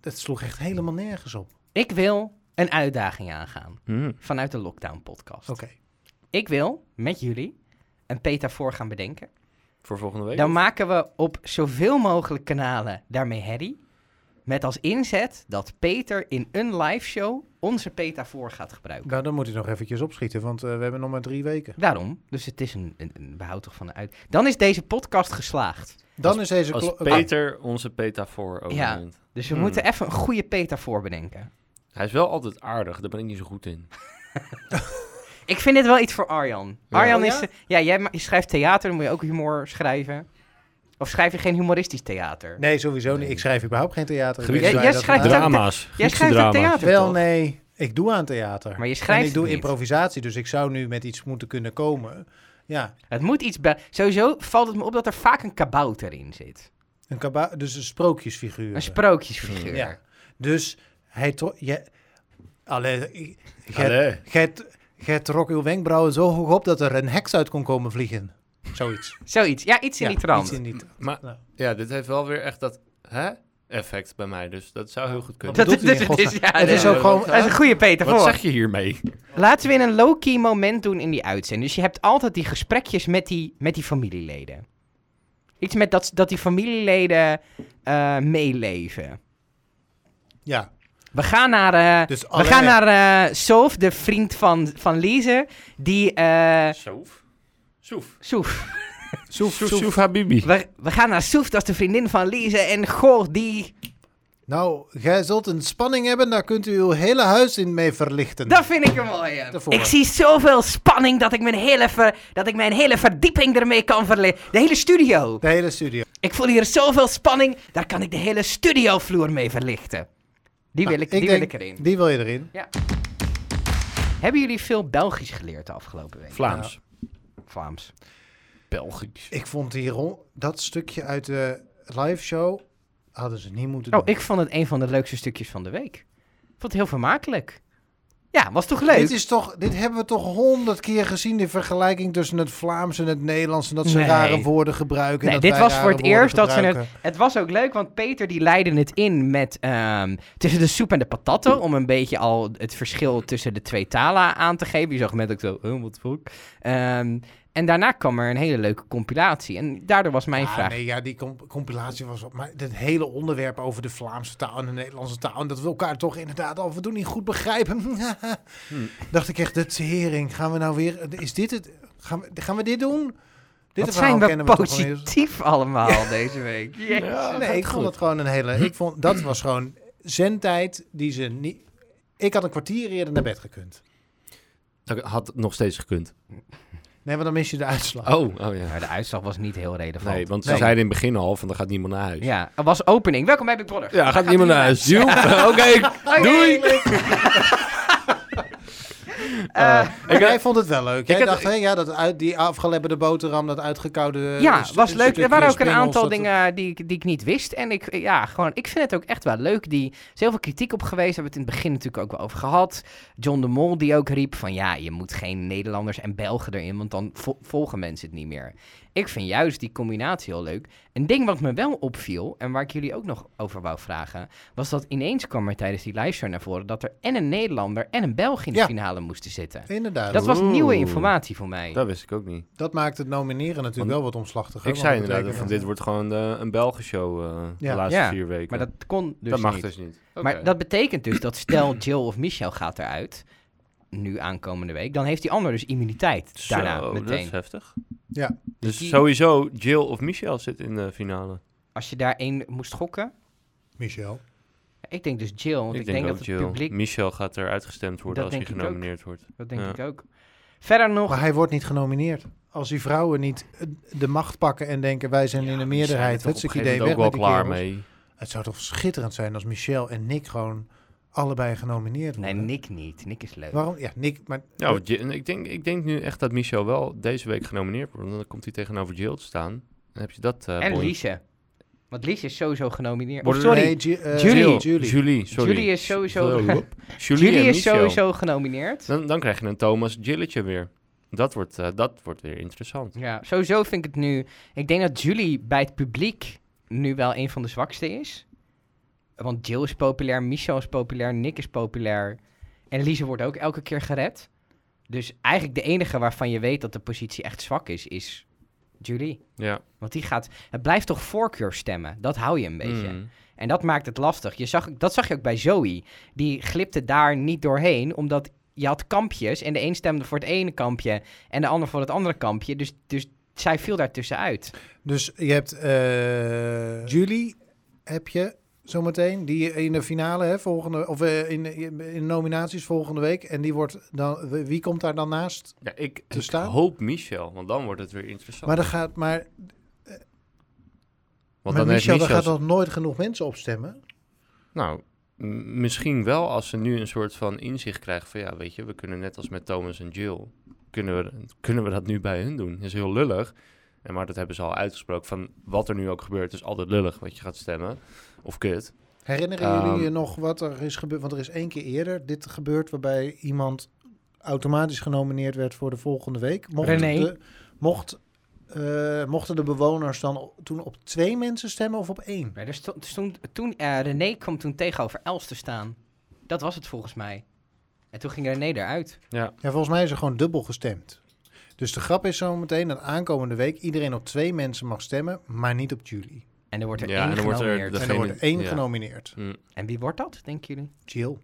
het sloeg echt helemaal nergens op.
Ik wil een uitdaging aangaan
Hm.
vanuit de Lockdown Podcast.
Oké.
Ik wil met jullie een Petafoor gaan bedenken.
Voor volgende week?
Dan maken we op zoveel mogelijk kanalen daarmee herrie. Met als inzet dat Peter in een live show onze Petafoor gaat gebruiken.
Nou, dan moet hij nog eventjes opschieten, want eh, we hebben nog maar drie weken.
Daarom, dus het is een, een, een behoud toch van de uit. Dan is deze podcast geslaagd.
Dan is deze...
Als
klo-
Peter onze petafoor
Ja.
overneemt.
Dus we
Hmm.
moeten even een goede Petafoor bedenken.
Hij is wel altijd aardig, daar ben ik niet zo goed in.
Ik vind dit wel iets voor Arjan.
Ja.
Arjan
Oh,
is. Ja, jij ma- je schrijft theater, dan moet je ook humor schrijven. Of schrijf je geen humoristisch theater?
Ah, Nee, sowieso niet. Ik schrijf überhaupt geen theater. Ik
Griekse-
weet niet waar
Jij-
je
jij
dat vandaan-
schrijft ook-
Drama's.
Jij
Griekse
schrijft een
drama's.
theater.
Wel,
toch?
nee. Ik doe aan theater.
Maar je schrijft
en ik doe
het niet.
improvisatie, dus ik zou nu met iets moeten kunnen komen. Ja,
Het moet iets. be- Sowieso valt het me op dat er vaak een kabouter in zit.
een kaba dus een sprookjesfiguur.
Een sprookjesfiguur.
Ja. Dus hij trok... Je... Allee, ik- jij-
Allee.
jij jij trok uw wenkbrauwen zo hoog op dat er een heks uit kon komen vliegen. Zoiets.
Zoiets. Ja, iets in
Ja,
die trant.
iets in die trant.
Maar
Nou.
ja, dit heeft wel weer echt dat hè, effect bij mij. Dus dat zou heel goed kunnen.
Dat
Wat
is,
bedoelt
dit,
hij in
dit is, ja,
godsnaam? Het
dit
is ook gewoon...
dat is een goede Peter
Wat
voor.
zeg je hiermee?
Laten we in een low-key moment doen in die uitzending. Dus je hebt altijd die gesprekjes met die, met die familieleden. Iets met dat, dat die familieleden eh, meeleven.
Ja,
We gaan naar, eh,
dus
we
allee.
gaan naar eh, Sof, de vriend van, van Lise. Die. eh
Soef? Soef.
Soef.
Soef, Habibi.
We, we gaan naar Soef, dat is de vriendin van Lise. En goh, die.
Nou, jij zult een spanning hebben, daar kunt u uw hele huis in mee verlichten.
Dat vind ik een mooie.
Daarvoor.
Ik zie zoveel spanning dat ik mijn hele, ver- dat ik mijn hele verdieping ermee kan verleggen. De hele studio.
De hele studio.
Ik voel hier zoveel spanning, daar kan ik de hele studiovloer mee verlichten. Die, wil, ik,
Nou,
die
denk-
wil ik erin.
Die wil je erin.
Hebben jullie veel Belgisch geleerd de afgelopen week?
Vlaams.
Vlaams.
Belgisch.
Ik vond die rol, dat stukje uit de live show hadden ze niet moeten
Oh,
doen.
ik vond het een van de leukste stukjes van de week. Ik vond het heel vermakelijk. Ja, was toch
Dit,
leuk?
is toch, dit hebben we toch honderd keer gezien, die vergelijking tussen het Vlaams en het Nederlands. En dat ze
Nee.
rare woorden gebruiken. en
Nee,
dat
dit
wij
was voor
rare
het
woorden
eerst dat ze
gebruiken.
Het was ook leuk, want Peter die leidde het in met ehm, tussen de soep en de patatten. Om een beetje al het verschil tussen de twee talen aan te geven. Je zag met ook zo, oh, wat fuck. Ehm, en daarna kwam er een hele leuke compilatie. En daardoor was mijn
Ah,
vraag.
Nee, ja, die comp- compilatie was op. Maar het hele onderwerp over de Vlaamse taal en de Nederlandse taal. En dat we elkaar toch inderdaad al voldoende niet goed begrijpen.
Hmm.
Dacht ik echt, de tering. Gaan we nou weer. Is dit het? Gaan we, gaan we dit doen? Dit
Wat
verhaal
zijn we
kennen we toch al eens?
positief allemaal deze week. Jezus.
Nee, ik vond het gewoon een hele. Ik vond, dat was gewoon zendtijd die ze niet. Ik had een kwartier eerder naar bed gekund.
Dat had nog steeds gekund.
Nee, want dan mis je de uitslag.
Oh, oh ja.
Maar Nou, de uitslag was niet heel relevant.
Nee, want ze
Nee.
zeiden in het begin al van, dan gaat niemand naar huis.
Ja, het was opening. Welkom bij Big Brother.
Ja, gaat niemand naar huis. Joep. Oké, doei.
Eh,
Maar jij vond het wel leuk. Jij
had-
dacht, hè, ja, dat uit, die afgelepperde boterham, dat uitgekoude...
ja,
eh,
was
st-
leuk. Er
stukje
waren ook een
springels,
aantal
dat-
dingen eh, die, ik- die ik niet wist. En ik, eh, ja, gewoon, ik vind het ook echt wel leuk. Die, er is heel veel kritiek op geweest. Daar hebben we het in het begin natuurlijk ook wel over gehad. John de Mol die ook riep van... Ja, je moet geen Nederlanders en Belgen erin, want dan vo- volgen mensen het niet meer. Ik vind juist die combinatie heel leuk. Een ding wat me wel opviel en waar ik jullie ook nog over wou vragen... was dat ineens kwam er tijdens die liveshow naar voren... dat er en een Nederlander en een Belg in de
Ja.
finale moesten zitten.
Inderdaad,
Dat
dat,
was nieuwe
Oeh.
informatie voor mij.
Dat wist ik ook niet.
maakt het nomineren natuurlijk wel wat omslachtiger.
Ik
want
zei
dat
inderdaad,
betekent
van dit wordt gewoon eh, een Belgishow eh
Ja.
de laatste
Ja,
vier weken.
Maar dat kon dus
Dat mag
niet.
dus niet.
Maar dat betekent dus dat stel Jill of Michel gaat eruit, nu aankomende week, dan heeft die ander dus immuniteit
Zo,
daarna
dat is
meteen.
heftig.
Ja.
Dus
Die-
sowieso Jill of Michel zit in de finale.
Als je daar één moest gokken,
Michel.
ik denk dus Jill, want ik, denk,
ook
dat het
Jill.
publiek,
Michel gaat eruit gestemd worden
Dat
als hij
denk ik ook.
genomineerd wordt.
dat denk
Ja.
ik ook. Verder nog,
Maar hij wordt niet genomineerd. Als die vrouwen niet eh, de macht pakken en denken wij zijn in de meerderheid,
het
het
is
is idee
ook
weg
wel
met die
klaar
kerels.
mee.
Het zou toch schitterend zijn als Michel en Nick gewoon allebei genomineerd
nee
worden.
Nick niet, Nick is leuk.
Waarom? Ja, Nick, maar
Ja, want Jill- ik, denk, ik denk nu echt dat Michel wel deze week genomineerd wordt. Want dan komt hij tegenover Jill te staan. Dan heb je dat. eh
en
boy.
Liesje, want Liesje is sowieso genomineerd. Of
Worden
sorry,
Nee, Ju- eh,
Julie.
Jill,
Julie.
Julie, sorry.
Julie is sowieso-
Julie,
Julie,
en
is
Michel.
sowieso genomineerd.
Dan, dan krijg je een Thomas Gilletje weer. Dat wordt, eh, dat wordt weer interessant.
Ja, sowieso vind ik het nu, ik denk dat Julie bij het publiek nu wel een van de zwakste is. Want Jill is populair, Michel is populair, Nick is populair. En Lise wordt ook elke keer gered. Dus eigenlijk de enige waarvan je weet dat de positie echt zwak is, is Julie.
Ja.
Want die gaat... Het blijft toch voorkeur stemmen. Dat hou je een beetje.
Mm.
En dat maakt het lastig. Je zag, dat zag je ook bij Zoe. Die glipte daar niet doorheen, omdat je had kampjes. En de een stemde voor het ene kampje en de ander voor het andere kampje. Dus, dus zij viel daartussenuit.
Dus je hebt eh, Julie, heb je zometeen, die in de finale, hè, volgende, of eh, in, in, in nominaties volgende week. En die wordt dan, wie komt daar dan naast?
Ja, ik,
Te
ik
staan?
hoop Michel, want dan wordt het weer interessant.
Maar dan gaat, maar,
want
maar
dan
Michel, daar
heeft Michel...
gaat nog nooit genoeg mensen op stemmen.
Nou, m- misschien wel als ze nu een soort van inzicht krijgen van... ja, weet je, we kunnen net als met Thomas en Jill... kunnen we, kunnen we dat nu bij hun doen. Dat is heel lullig. En maar dat hebben ze al uitgesproken van... wat er nu ook gebeurt is altijd lullig wat je gaat stemmen. Of kut.
Herinneren
Ehm.
jullie je nog wat er is gebeurd? Want er is één keer eerder dit gebeurd waarbij iemand automatisch genomineerd werd voor de volgende week. Mocht
René.
De, mocht, eh, mochten de bewoners dan op- toen op twee mensen stemmen of op één?
Maar er stond, stond- toen, eh, René kwam toen tegenover Els te staan. Dat was het volgens mij. En toen ging René eruit.
Ja, volgens mij is er gewoon dubbel gestemd. Dus de grap is zo meteen dat aankomende week iedereen op twee mensen mag stemmen, maar niet op Julie.
En er wordt er
Ja,
één
en dan wordt er
genomineerd. En,
de-
en er
Degene-
wordt één
ja.
genomineerd.
wie wordt dat, denken jullie?
Jill.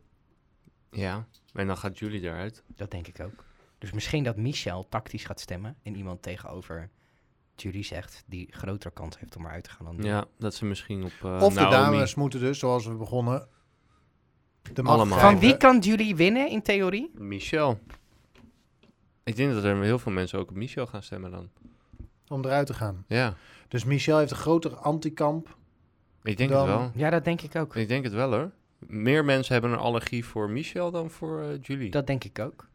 Ja, en dan gaat Julie eruit.
Dat denk ik ook. Dus misschien dat Michel tactisch gaat stemmen en iemand tegenover Julie zegt die grotere kans heeft om eruit te gaan dan die.
Ja, dat ze misschien op eh,
of de
Naomi-
dames moeten dus, zoals we begonnen, de macht
Allemaal.
Van
grijpen.
wie kan Julie winnen in theorie?
Michel. Ik denk dat er heel veel mensen ook op Michel gaan stemmen dan.
Om eruit te gaan.
Ja,
Dus Michel heeft een grotere antikamp.
ik denk
Dan-
het wel.
Ja, dat denk ik ook.
Ik denk het wel hoor. Meer mensen hebben een allergie voor Michel dan voor eh, Julie.
Dat denk ik ook.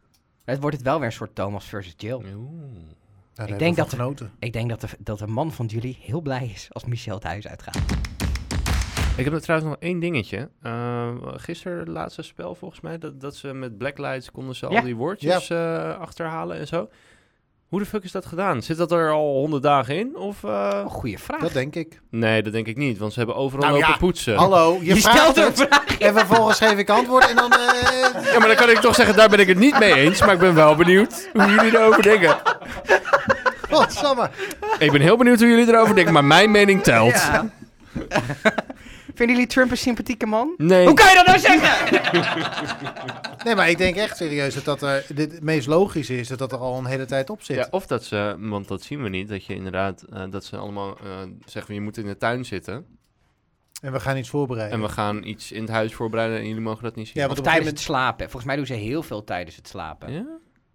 Het wordt het wel weer een soort Thomas versus Jill.
Hm. Oeh.
Daar
Ik
hebben
denk
we
dat-
van genoten.
Ik denk dat de, dat de man van Julie heel blij is als Michel het huis uitgaat.
Ik heb er trouwens nog één dingetje. Eh, gisteren het laatste spel volgens mij, dat, dat ze met blacklights konden ze
Ja.
al die woordjes eh, achterhalen en zo. Hoe de fuck is dat gedaan? Zit dat er al honderd dagen in? Of, eh,
Oh, goede vraag.
Dat denk ik.
Nee, dat denk ik niet, want ze hebben overal
Nou
lopen
ja,
poetsen.
Hallo, je,
je
vraagt
stelt een
het
vraag.
en vervolgens geef ik antwoord en dan... eh,
Ja, maar dan kan ik toch zeggen, daar ben ik het niet mee eens, maar ik ben wel benieuwd hoe jullie erover denken.
Godsamme.
Ik ben heel benieuwd hoe jullie erover denken, maar mijn mening telt.
Ja. Vinden jullie Trump een sympathieke man?
Nee.
Hoe kan je dat nou zeggen?
Nee, maar ik denk echt serieus dat dat eh, dit het meest logisch is dat dat er al een hele tijd op zit.
Ja, of dat ze, want dat zien we niet, dat je inderdaad, eh, dat ze allemaal eh, zeggen, je moet in de tuin zitten.
En we gaan iets voorbereiden.
En we gaan iets in het huis voorbereiden en jullie mogen dat niet zien.
Ja,
Of
want op een
tijdens
gegeven
het slapen. Volgens mij doen ze heel veel tijdens het slapen.
Ja?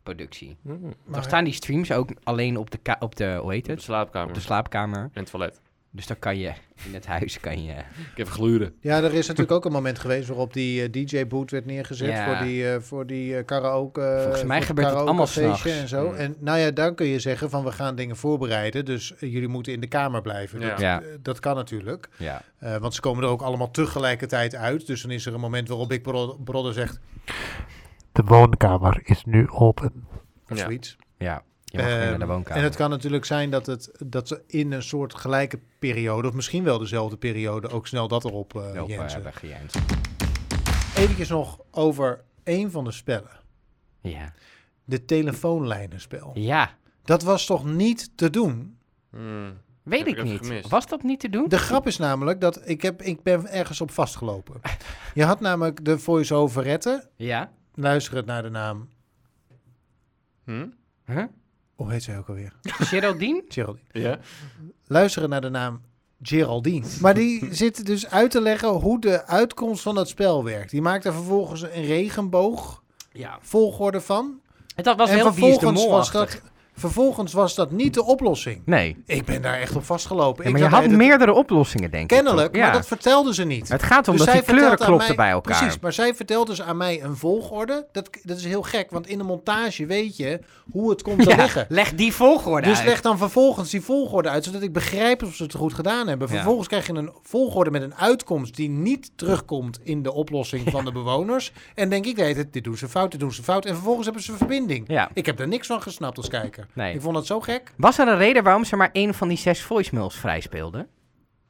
Productie.
Mm.
Dan staan die streams ook alleen op de, ka- op de hoe heet
Op de
het?
slaapkamer
Op de slaapkamer.
en het toilet.
Dus dan kan je in het huis kan je.
Ik heb gluren.
Ja, er is natuurlijk ook een moment geweest waarop die eh, DJ-boot werd neergezet
Ja.
voor die, eh, voor die eh, karaoke.
Volgens mij
voor
gebeurt dat allemaal
karaokefeestje
s'nachts.
en zo.
Mm.
En nou ja, dan kun je zeggen van we gaan dingen voorbereiden, dus eh, jullie moeten in de kamer blijven.
Ja.
Dat,
Ja.
eh, dat kan natuurlijk,
Ja.
Eh, want ze komen er ook allemaal tegelijkertijd uit. Dus dan is er een moment waarop Big Brother Brother zegt
De woonkamer is nu open.
of
Ja.
zoiets.
Ja. Je mag
Ehm,
weer naar de woonkamer.
En het kan natuurlijk zijn dat, het, dat ze in een soort gelijke periode, of misschien wel dezelfde periode, ook snel dat erop eh
Lopen
jensen.
hebben geënt.
Eventjes nog over één van de spellen.
Ja.
De telefoonlijnenspel.
Ja.
Dat was toch niet te doen?
Weet
Heb
ik
ik even
niet.
gemist.
Was dat niet te doen?
De grap is namelijk dat ik, heb, ik ben ergens op vastgelopen. Je had namelijk de voice-over retten.
Ja.
Luisterend naar de naam.
Hm?
Huh?
Hoe heet zij ook alweer?
Geraldine?
Geraldine.
Ja?
Luisteren naar de naam Geraldine. Maar die zit dus uit te leggen hoe de uitkomst van dat spel werkt. Die maakt er vervolgens een regenboog
Ja.
volgorde van.
Dat was heel Wie is de mol
was dat, vervolgens was dat niet de oplossing.
Nee.
Ik ben daar echt op vastgelopen.
Ja,
Ik
maar je
dacht,
had
nee, dat-
meerdere oplossingen, denk ik.
Kennelijk,
toch?
maar dat vertelden ze niet.
Het gaat om
Dus
dat die
zij vertelt
kleuren
aan
klopten
mij-
bij elkaar.
Precies, maar zij vertelt dus aan mij een volgorde. Dat, dat is heel gek, want in de montage weet je hoe het komt te
Ja,
liggen.
Leg die volgorde
Dus
uit.
leg dan vervolgens die volgorde uit, zodat ik begrijp of ze het goed gedaan hebben.
Ja.
Vervolgens krijg je een volgorde met een uitkomst die niet terugkomt in de oplossing van de bewoners. En denk ik, nee, dit doen ze fout, dit doen ze fout. En vervolgens hebben ze een verbinding.
Ja.
Ik heb daar niks van gesnapt als kijker.
Nee.
Ik vond dat zo gek.
Was er een reden waarom ze maar één van die zes voicemails vrijspeelden?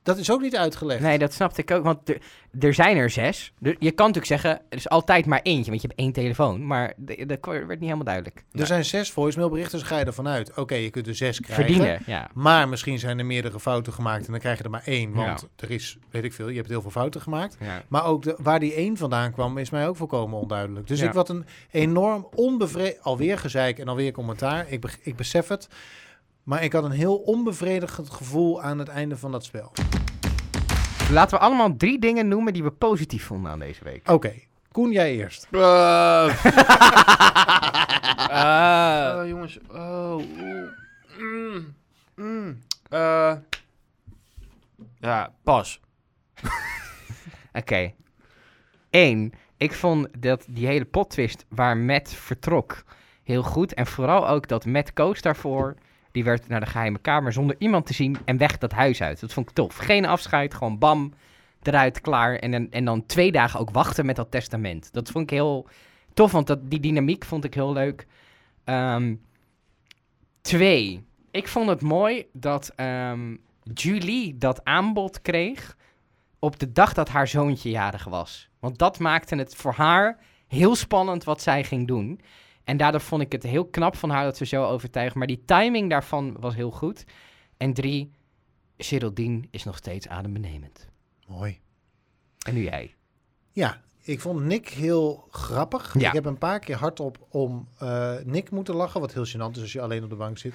Dat is ook niet uitgelegd.
Nee, dat snapte ik ook, want er- er zijn er zes. Er- je kan natuurlijk zeggen, er is altijd maar eentje, want je hebt één telefoon. Maar de- dat werd niet helemaal duidelijk.
Er zijn zes voicemailberichten, dus ga je ervan uit. Oké, je kunt er zes krijgen.
Verdienen, ja.
Maar misschien zijn er meerdere fouten gemaakt en dan krijg je er maar één. Want
Ja.
er is, weet ik veel, je hebt heel veel fouten gemaakt.
ja.
Maar ook de, waar die één vandaan kwam, is mij ook volkomen onduidelijk. Dus
Ja.
ik wat een enorm onbevredigd... Alweer gezeik en alweer commentaar, ik, beg- ik besef het. Maar ik had een heel onbevredigend gevoel aan het einde van dat spel. Oké,
Laten we allemaal drie dingen noemen die we positief vonden aan deze week.
Koen, jij eerst.
Eh, jongens. Oh. oeh. Mm. Mm. Eh. ja, pas.
Oké. Eén, ik vond dat die hele pottwist waar Matt vertrok heel goed. En vooral ook dat Matt koos daarvoor. Die werd naar de geheime kamer zonder iemand te zien en weg dat huis uit. Dat vond ik tof. Geen afscheid, gewoon bam, eruit, klaar. En, dan- en dan twee dagen ook wachten met dat testament. Dat vond ik heel tof, want dat, die dynamiek vond ik heel leuk. Ehm, twee, ik vond het mooi dat ehm, Julie dat aanbod kreeg op de dag dat haar zoontje jarig was. Want dat maakte het voor haar heel spannend wat zij ging doen. En daardoor vond ik het heel knap van haar dat ze zo overtuigd. Maar die timing daarvan was heel goed. En drie, Geraldine is nog steeds adembenemend.
Mooi.
En nu jij.
Ja, ik vond Nick heel grappig.
Ja.
Ik heb een paar keer hardop om eh, Nick moeten lachen, wat heel gênant is als je alleen op de bank zit.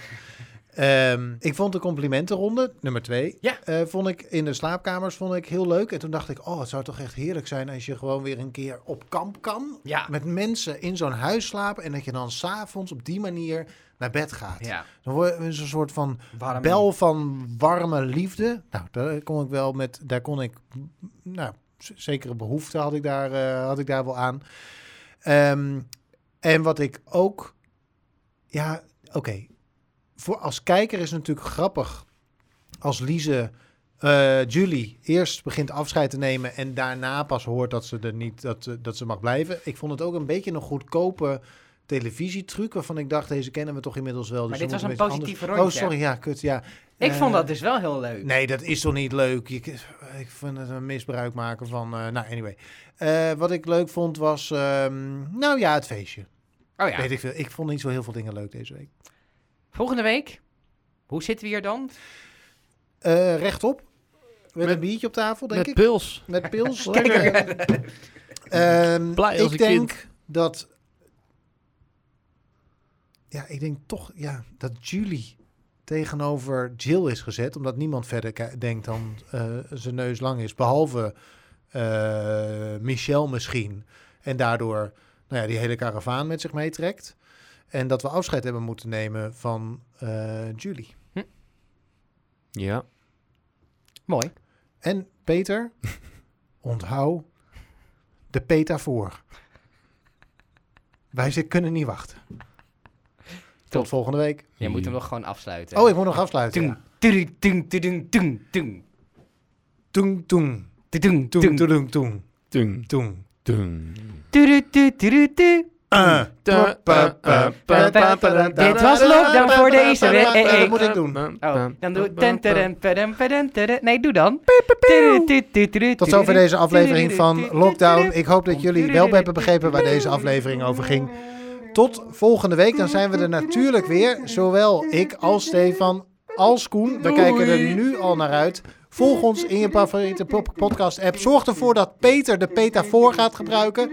Ehm, ik vond de complimentenronde, nummer twee,
Ja.
eh, vond ik in de slaapkamers vond ik heel leuk. En toen dacht ik, oh, het zou toch echt heerlijk zijn als je gewoon weer een keer op kamp kan.
Ja.
Met mensen in zo'n huis slapen en dat je dan s'avonds op die manier naar bed gaat.
Ja.
Dan word je een soort van bel van warme liefde. Nou, daar kon ik wel met, daar kon ik, nou, z- zekere behoefte had ik daar, eh, had ik daar wel aan. Ehm, en wat ik ook, ja, oké, voor als kijker is het natuurlijk grappig als Lize. eh, Julie eerst begint afscheid te nemen en daarna pas hoort dat ze er niet dat, ze- dat ze mag blijven. Ik vond het ook een beetje een goedkope televisietruc waarvan ik dacht deze kennen we toch inmiddels wel.
Maar
dus
dit
we
was
moeten
een
beetje anders-
positieve rondje.
Oh sorry, ja, kut, ja.
Ik
Eh,
vond dat dus wel heel leuk.
Nee, dat is toch niet leuk? Je, ik vind het een misbruik maken van... eh, nou, anyway. Eh, wat ik leuk vond was... ehm, nou ja, het feestje.
Oh ja.
Weet ik, veel. ik vond niet zo heel veel dingen leuk deze week.
Volgende week, hoe zitten we hier dan?
Eh, rechtop. Met,
Met-
een biertje op tafel, denk
Met
ik.
pils.
Met pils. Lekker. Ehm,
Blij als
ik
een
denk dat... Ja, ik denk toch ja, dat Julie tegenover Jill is gezet. Omdat niemand verder ki- denkt dan eh, zijn neus lang is. Behalve eh Michel misschien. En daardoor nou ja, die hele karavaan met zich meetrekt. En dat we afscheid hebben moeten nemen van eh, Julie.
Ja.
Mooi.
En Peter, onthoud de petafoor. Wij zi- kunnen niet wachten.
Top.
Tot volgende week.
Je moet hem nog gewoon afsluiten.
Oh, ik moet nog afsluiten.
Tung,
Ja.
tudung, tung, tudung, tung, tung.
Toeng, toeng,
Tudung,
toeng,
tung,
toeng, toeng,
Tung,
toeng.
tung.
tudu, tudu, tudu, tu.
Eh.
Dit was Lockdown voor deze week. Eh, eh.
Dat moet ik doen.
Oh, dan doe... ten, teren, peren, peren, teren. Nee, doe dan. Tudu, tudu, tudu, tudu,
Tot zover
tudu,
deze aflevering
tudu,
van
tudu,
Lockdown.
tudu.
Ik hoop dat jullie wel hebben begrepen waar deze aflevering over ging. Tot volgende week, dan zijn we er natuurlijk weer. Zowel ik als Stefan als Koen. We kijken er nu al naar uit. Volg ons in je favoriete pop- podcast-app. Zorg ervoor dat Peter de petafoor gaat gebruiken.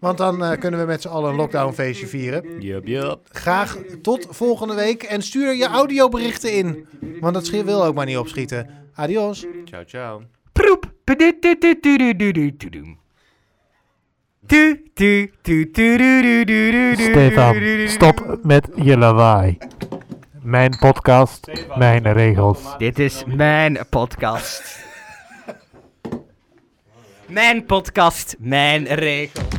Want dan eh, kunnen we met z'n allen een lockdownfeestje vieren.
Yup, yup.
Graag tot volgende week. En stuur je audioberichten in. Want dat schiet wil ook maar niet opschieten. Adios.
Ciao, ciao.
Proep. Tudu, tudu, tudu, tudu, tudu. Tu, tu, tu, tudu, tudu, tudu, tudu,
Stefan,
tudu,
stop met je lawaai. Mijn podcast, mijn regels.
Dit is mijn podcast. mijn podcast, mijn regels.